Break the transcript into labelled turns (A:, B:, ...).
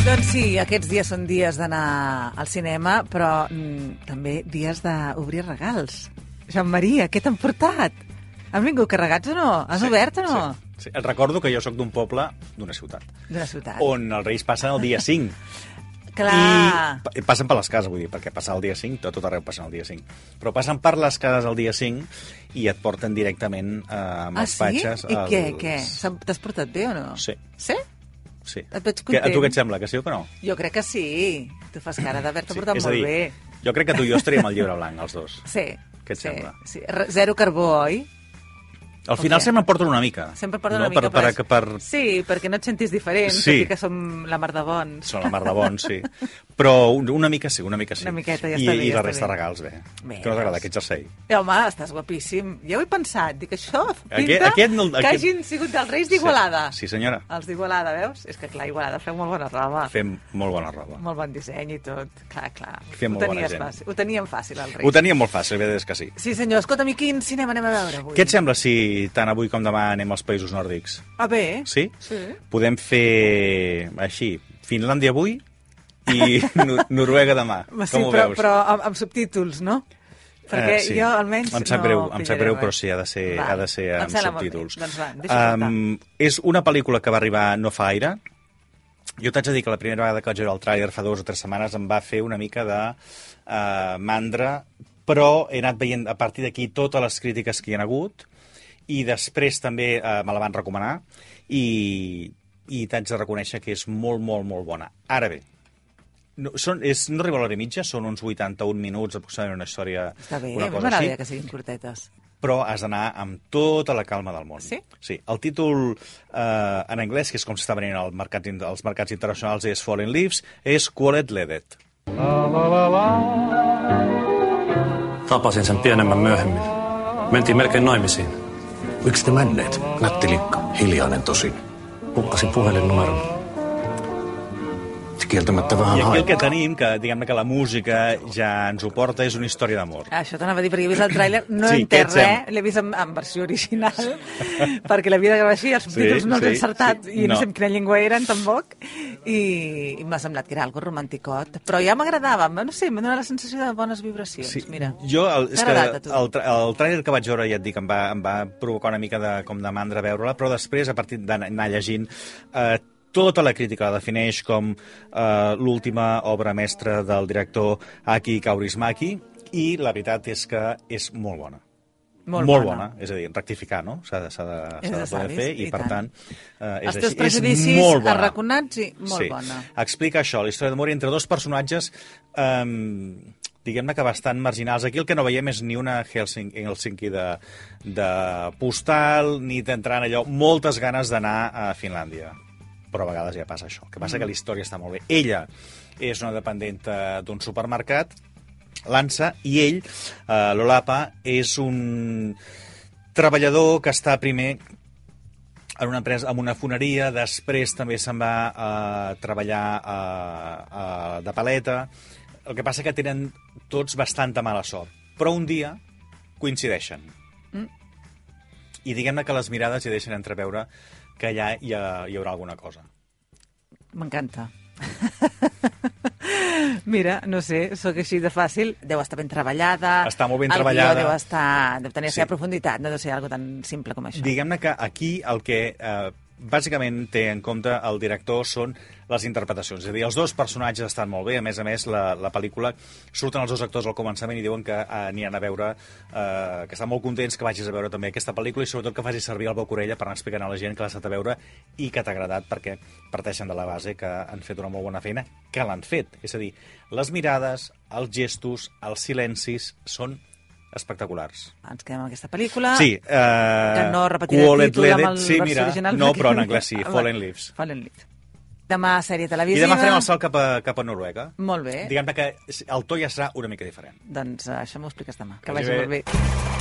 A: Doncs Sí, aquests dies són dies d'anar al cinema, però mm, també dies d'obrir regals. Joan Maria, què t'han portat? Han vingut carregats o no? Has obert o no?
B: Sí, sí. Et recordo que jo sóc d'un poble, d'una ciutat,
A: D'una ciutat.
B: on els Reis passen el dia 5.
A: Clar.
B: I pa- passen per les cases, vull dir, perquè passar el dia 5, a tot arreu passen el dia 5. Però passen per les cases el dia 5 i et porten directament eh, amb
A: Ah,
B: els
A: sí?
B: patxes.
A: I què,
B: als-
A: què? S'han- T'has portat bé o no?
B: Sí.
A: Sí?
B: Sí.
A: Et veig
B: Que, a tu
A: content.
B: què et sembla, que sí o que no?
A: Jo crec que sí. Tu fas cara d'haver-te portat
B: és a
A: molt
B: dir,
A: bé.
B: Jo crec que tu i jo estaríem al llibre blanc, els dos.
A: Sí.
B: Què et
A: sí,
B: sembla?
A: Sí. Re- Zero carbó, oi?
B: Al
A: O
B: final
A: què?
B: sempre em porten una mica.
A: Sempre porta
B: no?
A: una mica
B: per,
A: per,
B: per, per,
A: Sí, perquè no et sentis diferent,
B: Sí.
A: sí. tot i que som la mar de bons.
B: Són la mar de bons, sí. Però un- una mica sí, una mica sí.
A: Una miqueta, ja
B: I,
A: està bé,
B: I
A: ja
B: la
A: està
B: resta
A: bé.
B: de regals, bé.
A: Bé,
B: Que no t'agrada
A: doncs.
B: aquest jersei.
A: Eh, home, estàs guapíssim. Ja ho he pensat. Dic, això pinta
B: Aquest- aquest no-
A: que
B: aquest-
A: hagin sigut dels Reis d'Igualada.
B: Sí, sí, senyora.
A: Els d'Igualada, veus? És que, clar, Igualada feu molt bona roba.
B: Fem molt bona roba.
A: Ah. Molt bon disseny i tot. Clar, clar.
B: Fem molt
A: ho,
B: bona
A: tenies
B: gent.
A: fàcil. ho teníem fàcil, els Reis.
B: Ho teníem molt fàcil, la veritat és que sí.
A: Sí, senyor. Escolta'm, i quin cinema anem a veure avui?
B: Què et sembla si tant avui com demà anem als països nòrdics?
A: Ah, bé?
B: Sí?
A: Sí.
B: Podem fer així, Finlàndia avui i Nor- Noruega demà.
A: Home, sí,
B: com ho
A: però,
B: veus?
A: però amb, amb subtítols, no? Perquè
B: Eh, sí.
A: jo almenys
B: em sap
A: no
B: greu, em
A: pillaré
B: sap greu,
A: res.
B: però sí, ha de ser,
A: Va,
B: ha de ser
A: em
B: amb
A: sembla molt bé.
B: subtítols.
A: Doncs va, deixa'm um...
B: Em, és una pel·lícula que va arribar no fa aire. Jo t'haig de dir que la primera vegada que vaig veure el tràiler fa dues o tres setmanes em va fer una mica de uh, mandra, però he anat veient a partir d'aquí totes les crítiques que hi ha hagut i després també uh, me la van recomanar i, i t'haig de reconèixer que és molt, molt, molt bona. Ara bé, no, són, és, no arriba a l'hora i mitja, són uns 81 minuts aproximadament una història...
A: Està bé, eh?
B: una
A: a mi
B: cosa
A: m'agrada
B: així
A: que siguin curtetes.
B: però has d'anar amb tota la calma del món.
A: Sí?
B: Sí. El títol eh, en anglès, que és com s'està venint al mercat, in- als mercats internacionals, és Fallen Leaves, és Quolet Ledet.
C: Tapasin sen pienemmän myöhemmin. Mentiin melkein naimisiin.
D: Miksi te menneet? Nätti likka. Hiljainen tosin.
C: Hukkasin puhelinnumeron.
D: Kieltämättä
B: I
D: vähän
B: aquí el que
D: haikoo.
B: tenim, que diguem que la música ja ens ho porta, és una història d'amor.
A: Ah, Això t'anava a dir, perquè he vist el tràiler, no
B: Sí,
A: he
B: què
A: entès
B: et
A: res,
B: sembla?
A: l'he vist en, en versió original, perquè l'havia de gravar així, els subtítols no els he
B: sí,
A: encertat,
B: sí,
A: i no
B: no.
A: sé en quina llengua eren, tampoc, i, i m'ha semblat que era algo romanticot, però ja m'agradava, no sé, m'ha donat la sensació de bones vibracions, sí. mira.
B: Jo, el, és
A: T'ha
B: que
A: agradat a tu?
B: el, tra- el tràiler que vaig veure, ja et dic, em va, em va provocar una mica de, com de mandra veure-la, però després, a partir d'anar llegint, eh, tota la crítica la defineix com eh, l'última obra mestra del director Aki Kaurismäki, i la veritat és que és molt bona.
A: Molt,
B: bona. És a dir, rectificar, no? S'ha de, s'ha de, s'ha
A: És
B: de
A: de
B: poder
A: savis,
B: fer, i,
A: i
B: per tant,
A: tant.
B: eh, és
A: Els teus
B: així.
A: prejudicis
B: és molt bona
A: arraconats i molt bona.
B: explica això, la història d'amor entre dos personatges um, diguem-ne que bastant marginals. Aquí el que no veiem és ni una Helsinki, Helsinki de, de postal, ni d'entrar en allò. Moltes ganes d'anar a Finlàndia. Però a vegades ja passa això. El que passa mm. que la història està molt bé. Ella és una dependenta d'un supermercat, l'Ansa, i ell, eh, l'Olapa, és un treballador que està primer en una empresa, en una foneria, després també se'n va a treballar a, a, de paleta. El que passa que tenen tots bastanta mala sort. Però un dia coincideixen. Mm. I diguem-ne que les mirades hi deixen entreveure que allà hi, ha, hi haurà alguna cosa.
A: M'encanta. Mira, no sé, sóc així de fàcil. Deu estar ben treballada.
B: Està molt ben
A: el guió
B: treballada.
A: Deu, estar, deu tenir la
B: Sí.
A: seva profunditat, no deu ser algo tan simple com això.
B: Diguem-ne que aquí el que eh, bàsicament té en compte el director són les interpretacions. És a dir, els dos personatges estan molt bé. A més a més, la, la pel·lícula surten els dos actors al començament i diuen que eh, aniran a veure, eh, que estan molt contents que vagis a veure també aquesta pel·lícula i sobretot que facis servir el Bocorella per anar explicant a la gent que l'has estat a veure i que t'ha agradat perquè parteixen de la base que han fet una molt bona feina, que l'han fet. És a dir, les mirades, els gestos, els silencis són espectaculars.
A: Ens quedem amb aquesta pel·lícula.
B: Sí, uh,
A: Ah, que no repetiré el títol amb el
B: sí,
A: versió
B: mira,
A: original.
B: No,
A: perquè-
B: però en anglès sí,
A: Ah, va.
B: Fallen Leaves.
A: Fallen Leaves. Demà sèrie
B: I
A: televisiva.
B: demà farem el salt cap a, cap a Noruega.
A: Molt bé.
B: Diguem-ne que el to ja serà una mica diferent.
A: Doncs eh, això m'ho expliques demà. Que
B: Vagi
A: vagi
B: bé.
A: molt bé.